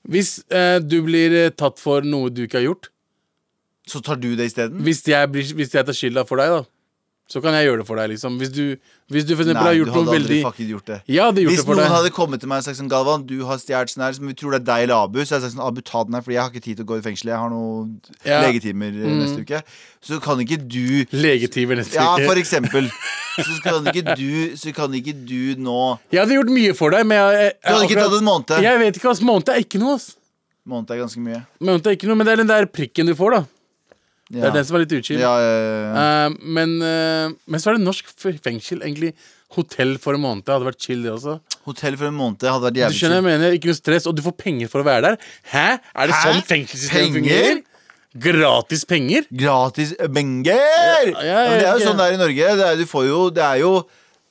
Speaker 2: Hvis eh, du blir eh, tatt for noe du ikke har gjort,
Speaker 3: Så tar du det isteden?
Speaker 2: Hvis jeg, blir, hvis jeg tar skylda for deg, da, så kan jeg gjøre det for deg, liksom. Hvis du, hvis du for eksempel har gjort
Speaker 3: du hadde
Speaker 2: noe veldig
Speaker 3: aldri fucking gjort det.
Speaker 2: Jeg hadde gjort
Speaker 3: Hvis
Speaker 2: det for
Speaker 3: noen
Speaker 2: deg.
Speaker 3: hadde kommet til meg og sagt sånn Galvan, du har stjålet sånn her, men vi tror det er deg eller Abu, så hadde jeg sagt sånn Abu, ta den her, fordi jeg har ikke tid til å gå i fengsel, jeg har noen
Speaker 2: Ja. Mm.
Speaker 3: legetimer eh, neste uke. Så kan ikke du
Speaker 2: Legetimer neste
Speaker 3: Ja,
Speaker 2: uke.
Speaker 3: for eksempel. Så kan ikke du, så kan ikke du nå
Speaker 2: Jeg hadde gjort mye for deg, men jeg, jeg,
Speaker 3: Du hadde ikke tatt en måned.
Speaker 2: Jeg vet ikke, ass. Måned er ikke noe, ass.
Speaker 3: Måned er ganske mye.
Speaker 2: Måned er ikke noe, men det er den der prikken du får, da. Det
Speaker 3: Ja.
Speaker 2: er den som er litt utskilt.
Speaker 3: ja, ja, ja, ja.
Speaker 2: Eh, men, eh, men så er det norsk f- fengsel, egentlig. Hotell for en måned hadde vært chill, det også.
Speaker 3: Hotell for en måned hadde vært
Speaker 2: Du
Speaker 3: jævlig
Speaker 2: skjønner, jeg mener, Ikke noe stress, og du får penger for å være der. Hæ? Er det
Speaker 3: Hæ?
Speaker 2: sånn fengselssystemet
Speaker 3: Penger?
Speaker 2: fungerer? Gratis penger?
Speaker 3: Gratis benger!
Speaker 2: Ja, ja,
Speaker 3: men det er jo
Speaker 2: ja.
Speaker 3: sånn det er i Norge. Det er, du får jo, det er jo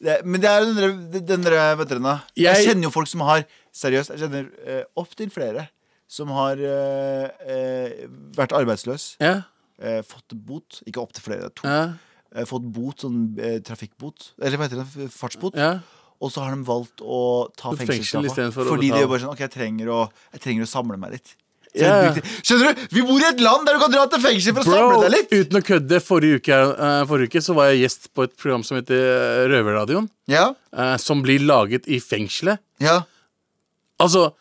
Speaker 3: det, Men det er jo den der- den der Vet dere nå, jeg,
Speaker 2: Jeg-
Speaker 3: kjenner jo folk som har Seriøst, jeg kjenner eh, opptil flere som har eh, eh, vært arbeidsløs,
Speaker 2: Ja.
Speaker 3: eh, fått bot Ikke opptil flere, det er to.
Speaker 2: ja,
Speaker 3: Eh, fått bot, sånn eh, trafikkbot. Eller hva heter det? Fartsbot.
Speaker 2: ja.
Speaker 3: Og så har de valgt å ta
Speaker 2: Og fengsel
Speaker 3: fengselsstraffa.
Speaker 2: istedenfor å
Speaker 3: Fordi de
Speaker 2: betale.
Speaker 3: er bare sånn Ok, jeg trenger å, jeg trenger å samle meg litt. Så jeg
Speaker 2: Ja.
Speaker 3: brukte- Skjønner du? Vi bor i et land der du kan dra til fengsel for å samle
Speaker 2: Bro,
Speaker 3: deg litt!
Speaker 2: uten å kødde, forrige uke, eh, forrige uke så var jeg gjest på et program som heter eh, Røverradioen.
Speaker 3: Ja,
Speaker 2: eh, som blir laget i fengselet.
Speaker 3: ja,
Speaker 2: Altså,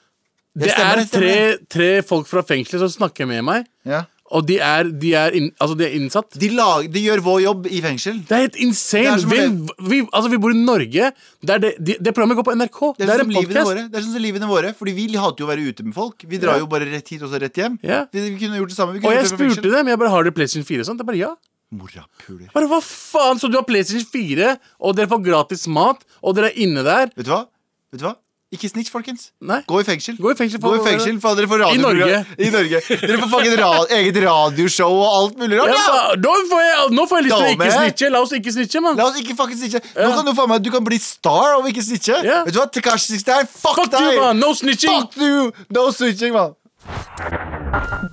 Speaker 2: det,
Speaker 3: stemmer,
Speaker 2: er
Speaker 3: det stemmer.
Speaker 2: tre, tre folk fra fengselet som snakker med meg,
Speaker 3: ja.
Speaker 2: og de er, de er, inn, altså, de er innsatt.
Speaker 3: De, lag, de gjør vår jobb i fengsel.
Speaker 2: Det er helt insane!
Speaker 3: Det er som å
Speaker 2: Hvem, vi, altså, vi bor i Norge. Det, er det, de, det programmet går på NRK.
Speaker 3: Det
Speaker 2: Det
Speaker 3: er,
Speaker 2: er,
Speaker 3: sånn som
Speaker 2: en
Speaker 3: livene
Speaker 2: podkast.
Speaker 3: våre. Det er sånn som livene våre Fordi vi hater jo å være ute med folk. Vi drar
Speaker 2: Ja.
Speaker 3: jo bare rett hit og så rett hjem.
Speaker 2: Ja.
Speaker 3: Vi, vi kunne gjort det samme. Vi
Speaker 2: Og
Speaker 3: kunne
Speaker 2: jeg
Speaker 3: gjort det fra
Speaker 2: spurte
Speaker 3: fengsel.
Speaker 2: dem. Jeg bare har dere PlayStation 4 og sånt. Det er bare ja.
Speaker 3: Morapuler.
Speaker 2: Bare, hva faen? Så du har PlayStation 4, og dere får gratis mat, og dere er inne der?
Speaker 3: Vet du hva? Vet du hva? Ikke snitch, folkens.
Speaker 2: Nei.
Speaker 3: Gå i fengsel.
Speaker 2: Gå i fengsel
Speaker 3: Gå
Speaker 2: for-
Speaker 3: i fengsel for dere får
Speaker 2: I
Speaker 3: radioprogram-
Speaker 2: Norge.
Speaker 3: I Norge. Dere får fucking ra eget radioshow og alt mulig rart.
Speaker 2: Ja,
Speaker 3: Ja!
Speaker 2: fa- nå, får jeg, nå får jeg lyst til å ikke
Speaker 3: Dame.
Speaker 2: snitche. La oss ikke snitche, mann.
Speaker 3: La oss ikke fucking snitche. Nå kan du faen meg Du kan bli star om ikke snitche.
Speaker 2: Ja.
Speaker 3: Vet du hva? Tekashi 69, fuck,
Speaker 2: Fuck
Speaker 3: deg!
Speaker 2: you, mann! No snitching!
Speaker 3: Fuck you! No switching, mann.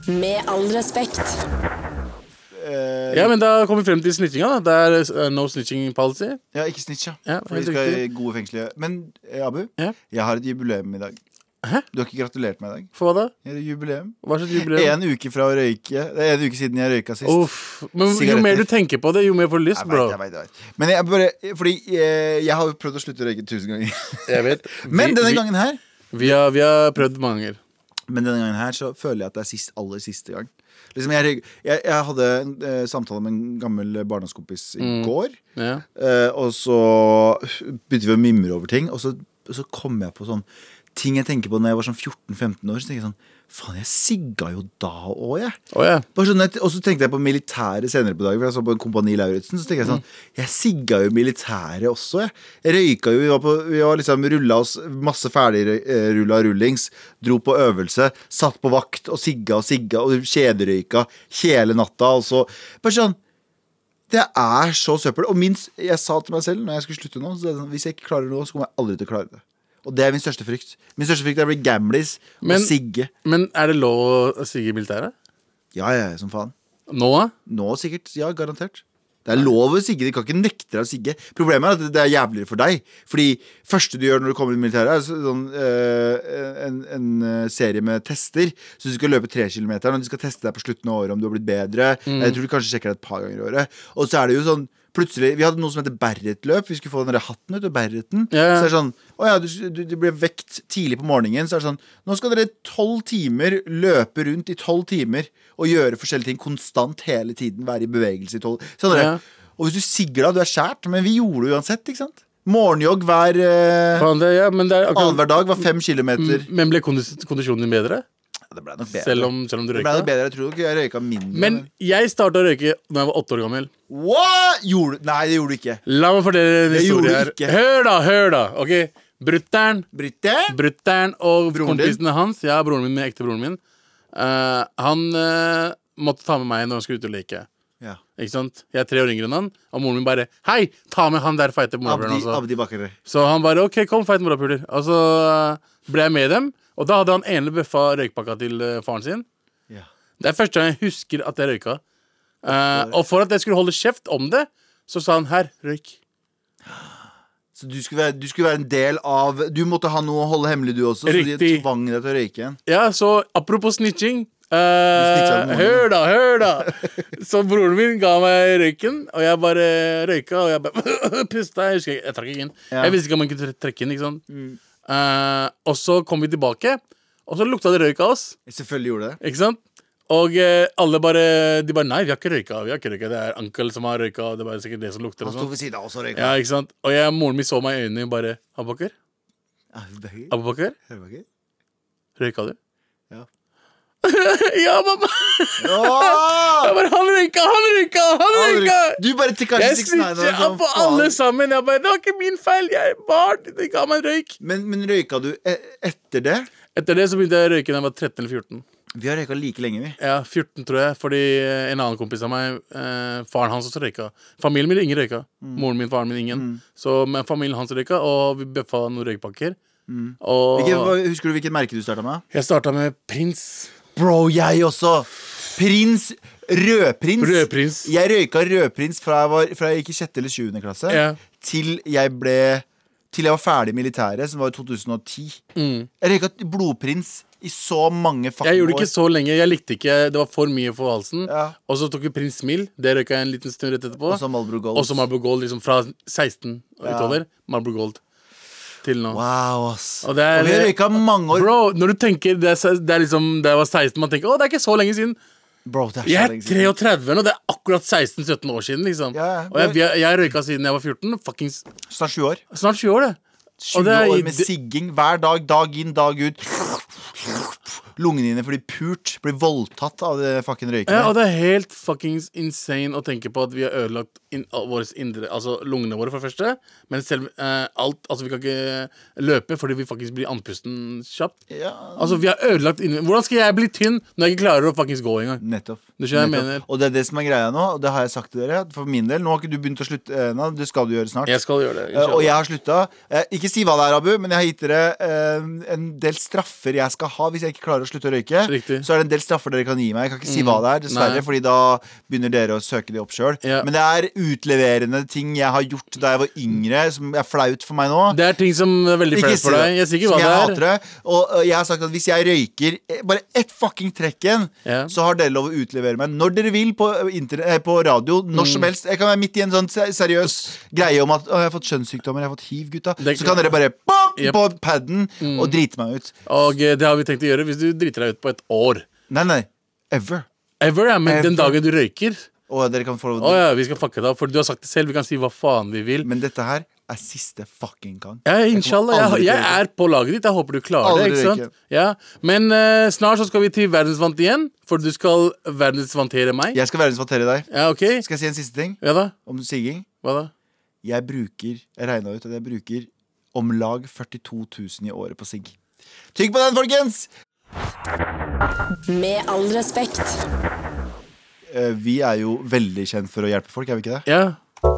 Speaker 1: Med all respekt.
Speaker 3: Eh,
Speaker 2: Ja, men da kommer vi frem til snitchinga, da. Det er eh, no snitching policy.
Speaker 3: ja, ikke snitch, ja.
Speaker 2: Ja,
Speaker 3: For vi
Speaker 2: helt
Speaker 3: skal i
Speaker 2: riktig.
Speaker 3: gode fengsler. Men eh, Abu,
Speaker 2: Ja.
Speaker 3: jeg har et jubileum i dag.
Speaker 2: Hæ?
Speaker 3: Du har ikke gratulert meg i dag.
Speaker 2: For hva da?
Speaker 3: Jeg har et jubileum.
Speaker 2: Hva slags jubileum?
Speaker 3: En uke fra å røyke Det er en uke siden jeg røyka sist.
Speaker 2: Uff. Men jo
Speaker 3: Sigaretter.
Speaker 2: mer du tenker på det, jo mer får du lyst,
Speaker 3: Jeg
Speaker 2: bro.
Speaker 3: vet, jeg vet, jeg vet. Men jeg bare, fordi eh, jeg har jo prøvd å slutte å røyke tusen ganger.
Speaker 2: Jeg vet.
Speaker 3: Men
Speaker 2: Vi-
Speaker 3: denne
Speaker 2: vi-
Speaker 3: gangen her
Speaker 2: Vi har, vi har prøvd mange ganger.
Speaker 3: Men denne gangen her så føler jeg at det er sist, aller siste gang. Liksom jeg, røyk- jeg, jeg hadde en eh, samtale med en gammel barndomskompis i
Speaker 2: Mm.
Speaker 3: går.
Speaker 2: Ja.
Speaker 3: Eh, og så begynte vi å mimre over ting, og så, så kom jeg på sånn ting jeg tenker på når jeg var sånn 14-15 år. Så tenker jeg sånn Faen, jeg sigga jo da òg, jeg.
Speaker 2: Å ja.
Speaker 3: Bare sånn, at- og så tenkte jeg på militæret senere på dagen, for jeg så på en Kompani Lauritzen. Så tenkte jeg sånn Jeg sigga jo militæret også, jeg. Jeg røyka jo, vi var, på, vi var liksom rulla oss masse ferdigrulla rullings. Dro på øvelse, satt på vakt og sigga og sigga og kjederøyka hele natta. Og så Bare sånn det er så søppel. Og minst, jeg sa til meg selv når jeg skulle slutte nå, så er det sånn, hvis jeg ikke klarer noe, så kommer jeg aldri til å klare det. Og det er min største frykt. Min største frykt er å bli gamlis
Speaker 2: Men-
Speaker 3: og sigge.
Speaker 2: Men er det lov å sige i militæret?
Speaker 3: Ja, ja, ja, som faen.
Speaker 2: Nå? da?
Speaker 3: Nå sikkert. Ja, garantert. Det er lov å sigge. De kan ikke nekte deg å sigge. Problemet er at det er jævligere for deg. Fordi første du gjør når du kommer i militæret, er sånn, øh, en, en øh, serie med tester. Så du skal løpe tre kilometer, og de skal teste deg på slutten av året om du har blitt bedre.
Speaker 2: Mm.
Speaker 3: Jeg tror de kanskje sjekker deg et par ganger i året. Og så er det jo sånn Plutselig, Vi hadde noe som heter Berret-løp. Vi skulle få den der hatten ut og Berreten.
Speaker 2: Ja.
Speaker 3: Så er det sånn Å ja, du, du, du ble vekt tidlig på morgenen. Så er det sånn Nå skal dere tolv timer løpe rundt i tolv timer og gjøre forskjellige ting konstant hele tiden. Være i bevegelse i tolv Sånn er det.
Speaker 2: Ja.
Speaker 3: Og hvis du sigger da, du er skjært, men vi gjorde det uansett, ikke sant? Morgenjogg hver eh,
Speaker 2: Faen, det, ja, men, det er akkurat, Mm,
Speaker 3: annenhver dag var fem kilometer.
Speaker 2: men ble kondis kondisjonen din bedre?
Speaker 3: Ja, det ble nok bedre.
Speaker 2: Selv om, selv om du
Speaker 3: det ble nok
Speaker 2: røyka?
Speaker 3: bedre. Jeg tror nok jeg røyka mindre.
Speaker 2: Men jeg starta å røyke da jeg var åtte år gammel.
Speaker 3: What? Gjorde du Nei, det gjorde du ikke.
Speaker 2: La meg fortelle en
Speaker 3: Det gjorde
Speaker 2: historie her.
Speaker 3: du ikke.
Speaker 2: Hør, da! Hør, da! Ok, Brutter'n
Speaker 3: Brutter'n?
Speaker 2: Brutter'n og
Speaker 3: Broren din?
Speaker 2: kompisene hans Ja, broren min, min ekte broren min eh, Han eh, måtte ta med meg når han skulle ut og leke
Speaker 3: Ja.
Speaker 2: Ikke sant? Jeg er tre år yngre enn han Og moren min bare Hei, ta med han der fighter morapuleren
Speaker 3: Abdi,
Speaker 2: altså.
Speaker 3: Abdi Bakare.
Speaker 2: Så han bare Ok, kom fight morapuler Og så eh, ble jeg med dem Og da hadde han enlig bøffa røykpakka til eh, faren sin
Speaker 3: Ja.
Speaker 2: Det er første gang jeg husker at jeg røyka Eh, Og for at jeg skulle holde kjeft om det Så sa han her, røyk
Speaker 3: Så du skulle, være, du skulle være en del av Du måtte ha noe å holde hemmelig, du også. Så
Speaker 2: Riktig.
Speaker 3: de tvang deg til å røyke igjen.
Speaker 2: Ja, så apropos snitching Eh,
Speaker 3: Du stikker seg om
Speaker 2: hør da, hør da! Så broren min ga meg røyken, og jeg bare røyka, og jeg bare pusta. Jeg husker ikke, jeg trakk ikke inn.
Speaker 3: Ja. Mm.
Speaker 2: Jeg visste ikke om man kunne tre- trekke inn, ikke sant. Eh, og så kom vi tilbake, og så lukta det røyk av oss,
Speaker 3: Selvfølgelig gjorde det.
Speaker 2: ikke sant. Og eh, alle bare De bare Nei, vi har ikke røyka. vi har ikke røyka Det er onkel som har røyka, og det er bare sikkert det som lukter.
Speaker 3: Han
Speaker 2: Og,
Speaker 3: sto
Speaker 2: sånn.
Speaker 3: ved siden av oss og røyka.
Speaker 2: ja, ikke sant? og jeg, moren min så meg i øynene og bare Abubakar?
Speaker 3: Ja. det er gøy.
Speaker 2: Abubakar?
Speaker 3: Hører du meg ikke?
Speaker 2: Røyka du?
Speaker 3: Ja.
Speaker 2: ja, mamma!
Speaker 3: Åh!
Speaker 2: Jeg bare, han røyka, han røyka, han røyka!
Speaker 3: Du bare tikka
Speaker 2: Jeg snitcher
Speaker 3: sånn,
Speaker 2: opp på alle sammen. Jeg bare, Det var ikke min feil. Jeg er barn. Det ga meg en røyk.
Speaker 3: Men, men røyka du e etter det?
Speaker 2: Etter det så begynte jeg å røyke da jeg var 13 eller 14.
Speaker 3: Vi har røyka like lenge, vi.
Speaker 2: Ja, 14 tror jeg, fordi eh, en annen kompis av meg, eh, faren hans også røyka. Familien min ingen røyka. Moren min, faren min, ingen. Så men familien hans røyka, og vi bøffa noen røykpakker. Og
Speaker 3: Hvilket, hva- husker du hvilket merke du starta med?
Speaker 2: jeg starta med Prins.
Speaker 3: Bro, jeg også! Prins. Rødprins.
Speaker 2: Rødprins.
Speaker 3: Jeg røyka rødprins fra jeg, var, fra jeg gikk i sjette eller sjuende klasse,
Speaker 2: Ja.
Speaker 3: til jeg ble Til jeg var ferdig i militæret, som var i 2010. Jeg røyka blodprins i så mange
Speaker 2: Mm.
Speaker 3: fucking
Speaker 2: Jeg gjorde det
Speaker 3: år.
Speaker 2: ikke så lenge. Jeg likte ikke, Det var for mye for halsen.
Speaker 3: Ja.
Speaker 2: Og så tok vi Prins Mill. Det røyka jeg en liten stund rett etterpå.
Speaker 3: Og så Marlboro Gold.
Speaker 2: Også Marble Gold liksom fra 16 og utover. Marble Gold til nå.
Speaker 3: Wow, ass.
Speaker 2: Og
Speaker 3: Og,
Speaker 2: det er-
Speaker 3: vi har røyka mange år. Bro,
Speaker 2: Bro, når du tenker det er, se- det er liksom, Da jeg var 16, man tenker å, det er ikke så lenge siden.
Speaker 3: det er så
Speaker 2: Jeg er
Speaker 3: lenge siden.
Speaker 2: 33 nå, det er akkurat 16-17 år siden. liksom
Speaker 3: Ja, ja.
Speaker 2: Og jeg, jeg, jeg røyka siden jeg var 14. Fuckings
Speaker 3: Snart sju år.
Speaker 2: snart 20 år, det.
Speaker 3: 20
Speaker 2: det er i
Speaker 3: år med
Speaker 2: det-
Speaker 3: sigging hver dag, dag inn, dag ut. Lungene dine blir pult, blir voldtatt av det fucking røykene.
Speaker 2: Ja, og det er helt fuckings insane å tenke på at vi har ødelagt in all- våres indre Altså lungene våre, for det første. Men selv eh, alt Altså, vi kan ikke løpe fordi vi faktisk blir andpusten kjapt.
Speaker 3: Ja.
Speaker 2: Altså, vi har ødelagt inni Hvordan skal jeg bli tynn når jeg ikke klarer å faktisk gå engang?
Speaker 3: Nettopp.
Speaker 2: Du skjønner hva jeg
Speaker 3: Nettopp.
Speaker 2: mener.
Speaker 3: Og det er det som er greia nå, og det har jeg sagt til dere. at For min del, Nå har ikke du begynt å slutte eh, ennå, det skal du gjøre snart.
Speaker 2: Jeg skal gjøre det.
Speaker 3: Eh, og
Speaker 2: inshallah.
Speaker 3: jeg har slutta. Eh, ikke si hva det er, Abu, men jeg har gitt dere eh, en del straffer jeg skal ha hvis jeg ikke klarer å slutte å røyke.
Speaker 2: Riktig. Mm.
Speaker 3: Så er det en del straffer dere kan gi meg. Jeg kan ikke si hva det er, dessverre,
Speaker 2: Nei.
Speaker 3: fordi da begynner dere å søke de opp sjøl.
Speaker 2: Ja.
Speaker 3: Men det er utleverende ting jeg har gjort da jeg var yngre, som er flaut for meg nå.
Speaker 2: Det er ting som er veldig
Speaker 3: Ikke
Speaker 2: flaut for
Speaker 3: si
Speaker 2: deg. Jeg sier ikke
Speaker 3: Som
Speaker 2: hva
Speaker 3: jeg
Speaker 2: det er.
Speaker 3: hater det. Og ø, jeg har sagt at hvis jeg røyker eh, bare ett fucking trekk igjen,
Speaker 2: Ja.
Speaker 3: så har dere lov å utlevere meg når dere vil på, ø, interne- eh, på radio, når
Speaker 2: Mm.
Speaker 3: som helst. Jeg kan være midt i en sånn se- seriøs greie om at å, jeg har fått kjønnssykdommer, jeg har fått hiv, gutta.
Speaker 2: Det- Mm.
Speaker 3: Så kan dere bare bam,
Speaker 2: Yep.
Speaker 3: på paden og drite meg ut.
Speaker 2: Og eh, det har vi tenkt å gjøre hvis du driter deg ut på et år.
Speaker 3: Nei, nei. Ever.
Speaker 2: Ever, ja, men den
Speaker 3: Ever.
Speaker 2: dagen du røyker
Speaker 3: Og dere kan få lov
Speaker 2: Å
Speaker 3: å
Speaker 2: ja, vi skal fucke deg opp, for du har sagt det selv. Vi kan si hva faen vi vil.
Speaker 3: Men dette her er siste fucking gang.
Speaker 2: Ja,
Speaker 3: Jeg kommer
Speaker 2: inshallah. Jeg,
Speaker 3: aldri til å
Speaker 2: jeg
Speaker 3: gjøre det.
Speaker 2: er på laget ditt. Jeg håper du klarer
Speaker 3: Aldri
Speaker 2: det. ikke
Speaker 3: røyke.
Speaker 2: sant? Ja. Men eh, snart så skal vi til verdensvant igjen, for du skal verdensvantere meg.
Speaker 3: Jeg skal verdensvatere deg.
Speaker 2: Ja, ok?
Speaker 3: Skal jeg si en siste ting
Speaker 2: Ja da?
Speaker 3: om sigging?
Speaker 2: Hva da?
Speaker 3: Jeg bruker, jeg regna ut at jeg bruker om lag 42 000 i året på sigg. Tygg på den, folkens!
Speaker 1: Med all respekt.
Speaker 3: Eh, Vi er jo veldig kjent for å hjelpe folk, er vi ikke det?
Speaker 2: Ja?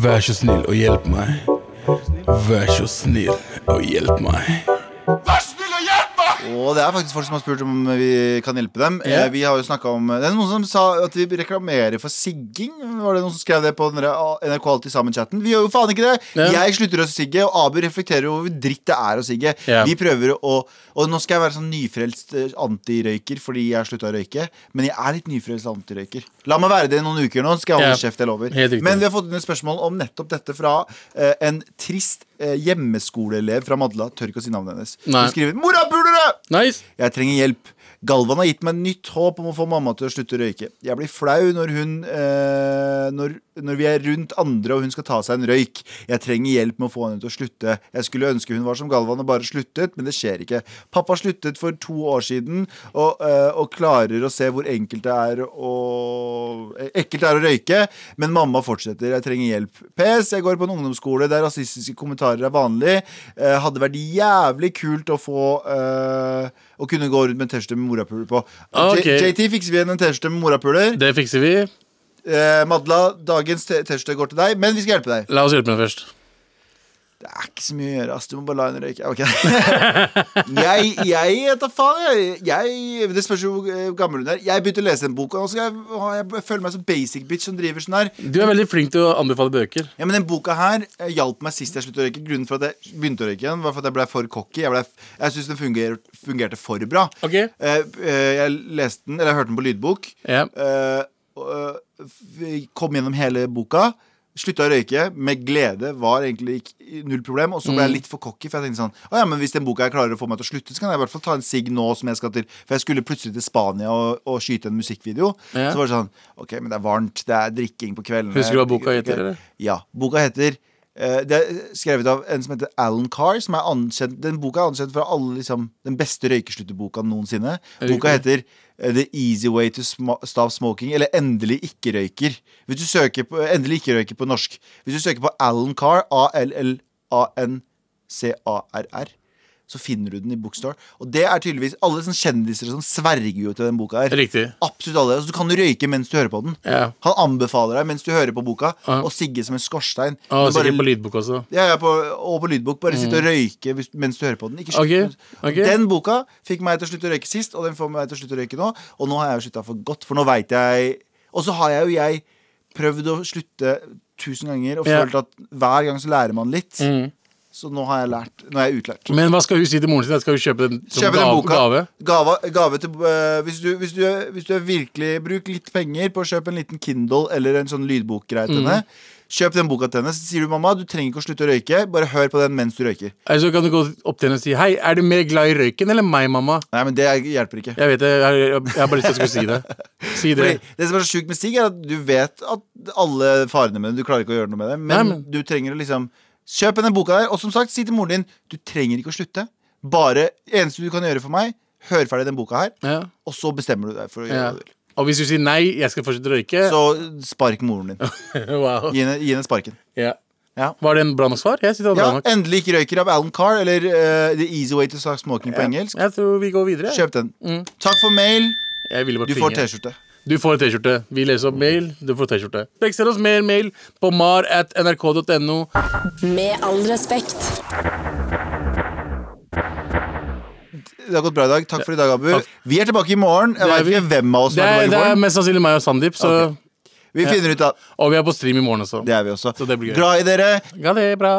Speaker 2: Vær så snill og hjelp meg. Vær så snill og hjelp meg.
Speaker 3: Og det er faktisk folk som har spurt om vi kan hjelpe dem.
Speaker 2: Ja.
Speaker 3: Eh, Vi har jo snakket om Det er noen som sa at vi reklamerer for sigging. Var det noen som skrev det på den der ah, NRK Alltid sammen-chatten? Vi gjør jo faen ikke det!
Speaker 2: Ja.
Speaker 3: Jeg slutter å sigge, og Abu reflekterer over hvor dritt det er å sigge.
Speaker 2: Ja.
Speaker 3: Vi prøver å Og nå skal jeg være sånn nyfrelst eh, antirøyker fordi jeg har slutta å røyke, men jeg er litt nyfrelst antirøyker. La meg være det i noen uker nå, så skal jeg holde
Speaker 2: Ja.
Speaker 3: kjeft, jeg lover.
Speaker 2: Helt riktig.
Speaker 3: Men vi har fått inn et spørsmål om nettopp dette fra eh, en trist eh, hjemmeskoleelev fra Madla. Tør ikke å si navnet hennes.
Speaker 2: Nei.
Speaker 3: Hun skriver 'Morapulere'!
Speaker 2: Nice.
Speaker 3: Jeg trenger hjelp. Galvan har gitt meg nytt håp om å få mamma til å slutte å røyke. Jeg blir flau når hun eh, når, når vi er rundt andre og hun skal ta seg en røyk. Jeg trenger hjelp med å få henne til å slutte. Jeg skulle ønske hun var som Galvan og bare sluttet, men det skjer ikke. Pappa sluttet for to år siden og, eh, og klarer å se hvor enkelt det er å eh, ekkelt det er å røyke, men mamma fortsetter. Jeg trenger hjelp. PS. Jeg går på en ungdomsskole der rasistiske kommentarer er vanlig. Eh, hadde vært jævlig kult å få eh, å kunne gå rundt med en T-skjorte med morapuler på.
Speaker 2: Ok.
Speaker 3: J- JT, fikser vi igjen en T-skjorte med morapuler?
Speaker 2: Det fikser vi.
Speaker 3: Eh, Madla, dagens T- T-skjorte går til deg, men vi skal hjelpe deg.
Speaker 2: La oss hjelpe henne først.
Speaker 3: Det er ikke så mye å gjøre, ass. Du må bare la henne røyke. Ja, Ok. jeg, jeg vet da faen, jeg. jeg. Det spørs jo hvor eh, gammel hun er. Jeg begynte å lese en bok, og nå skal jeg, å, jeg føler meg som basic bitch som driver sånn her.
Speaker 2: Du er veldig flink til å anbefale bøker.
Speaker 3: Ja, men Den boka her eh, hjalp meg sist jeg sluttet å røyke. Grunnen for at jeg begynte å røyke igjen, var for at jeg ble for cocky. Jeg, ble, jeg syns den funger, fungerte for bra.
Speaker 2: Ok.
Speaker 3: Eh, eh, jeg leste den, eller jeg hørte den på lydbok.
Speaker 2: Ja.
Speaker 3: Eh, og, eh, vi kom gjennom hele boka. Slutta å røyke med glede, var egentlig ikke, null problem. Og så
Speaker 2: Mm.
Speaker 3: ble jeg litt for cocky, for jeg tenkte sånn Å ja, men hvis den boka her klarer å få meg til å slutte, så kan jeg i hvert fall ta en sigg nå som jeg skal til For jeg skulle plutselig til Spania og, og skyte en musikkvideo.
Speaker 2: Ja.
Speaker 3: Så var det sånn OK, men det er varmt, det er drikking på kvelden.
Speaker 2: Husker du hva boka heter, eller?
Speaker 3: Ja. Boka heter eh, det er skrevet av en som heter Alan Carr. Som er anerkjent, den boka er anerkjent for alle, liksom, den beste røykeslutterboka noensinne.
Speaker 2: Riktig.
Speaker 3: Boka heter eh, The Easy Way to Sm Stop Smoking, eller Endelig ikke-røyker. Hvis du søker på Endelig ikke-røyker på norsk. Hvis du søker på Alan Carr, A-L-L-A-N-C-A-R-R, så finner du den i Bookstore. Og det er tydeligvis alle sånne kjendiser som sverger jo til den boka her.
Speaker 2: Riktig.
Speaker 3: Absolutt alle. Altså, du kan røyke mens du hører på den.
Speaker 2: Ja.
Speaker 3: Han anbefaler deg mens du hører på boka,
Speaker 2: Ja.
Speaker 3: å sigge som en skorstein.
Speaker 2: Og
Speaker 3: Men bare-
Speaker 2: sikkert på lydbok også.
Speaker 3: ja, ja, på, og på lydbok. Bare sitte og røyke hvis, mens du hører på den. Ikke
Speaker 2: Ok,
Speaker 3: slutt.
Speaker 2: ok.
Speaker 3: Den boka fikk meg til å slutte å røyke sist, og den får meg til å slutte å røyke nå. Og nå har jeg jo slutta for godt, for nå veit jeg Og så har jeg jo jeg prøvd å slutte tusen ganger og
Speaker 2: Ja. Mm.
Speaker 3: følt at hver gang så lærer man litt. Så nå har jeg lært. Nå er jeg utlært.
Speaker 2: Men hva skal hun si til moren sin? Skal hun kjøpe den som
Speaker 3: Kjøpe den
Speaker 2: gave?
Speaker 3: boka.
Speaker 2: gave?
Speaker 3: Gave, gave til, øh, hvis, du, hvis, du, hvis du er virkelig Bruk litt penger på å kjøpe en liten Kindle eller en sånn lydbokgreie
Speaker 2: Mm.
Speaker 3: til henne. Kjøp den boka til henne, så sier du mamma du trenger ikke å slutte å røyke. Bare hør på den mens du røyker.
Speaker 2: Eller så kan du gå opp til henne og si Hei, er du mer glad i røyken eller meg, mamma?
Speaker 3: Nei, men det hjelper ikke.
Speaker 2: Jeg vet det, jeg har, jeg har bare lyst til at jeg skulle si det. Si det.
Speaker 3: Fordi det som er så sjukt med sigg, er at du vet at alle farene med det. Du klarer ikke å gjøre noe med det, men,
Speaker 2: Nei, men-
Speaker 3: du trenger å liksom Kjøp denne boka der, og som sagt, si til moren din du trenger ikke å slutte. Bare eneste du kan gjøre for meg, hør ferdig den boka her,
Speaker 2: Ja,
Speaker 3: og så bestemmer du deg for å gjøre
Speaker 2: ja.
Speaker 3: hva du vil.
Speaker 2: Og hvis du sier nei, jeg skal fortsette å røyke
Speaker 3: Så spark moren din.
Speaker 2: Wow.
Speaker 3: Gi henne, gi henne sparken.
Speaker 2: Ja.
Speaker 3: Ja.
Speaker 2: Var det en bra nok svar? Jeg synes det var
Speaker 3: Ja,
Speaker 2: bra nok.
Speaker 3: Endelig ikke røyker av Alan Carr, eller eh, The Easy Way to Stop Smoking på engelsk.
Speaker 2: Jeg tror vi går videre.
Speaker 3: Kjøp den.
Speaker 2: Mm.
Speaker 3: Takk for mail.
Speaker 2: Jeg ville bare
Speaker 3: Du får
Speaker 2: plinge.
Speaker 3: T-skjorte.
Speaker 2: Du får et T-skjorte. Vi leser opp mail, du får T-skjorte. Legg send oss mer mail på mar at nrk.no.
Speaker 1: Med all respekt.
Speaker 3: Det har gått bra i dag. Takk for i dag, Abu.
Speaker 2: Takk.
Speaker 3: Vi er tilbake i morgen. Jeg
Speaker 2: Det er
Speaker 3: vet ikke hvem av oss
Speaker 2: Det
Speaker 3: som er
Speaker 2: er, det
Speaker 3: tilbake i
Speaker 2: er
Speaker 3: morgen.
Speaker 2: mest sannsynlig meg og Sandeep, så
Speaker 3: Ok. Vi finner ut av
Speaker 2: Og vi er på stream i morgen også.
Speaker 3: Det er vi også.
Speaker 2: Så det blir gøy.
Speaker 3: Glad i dere.
Speaker 2: Ja, det er bra.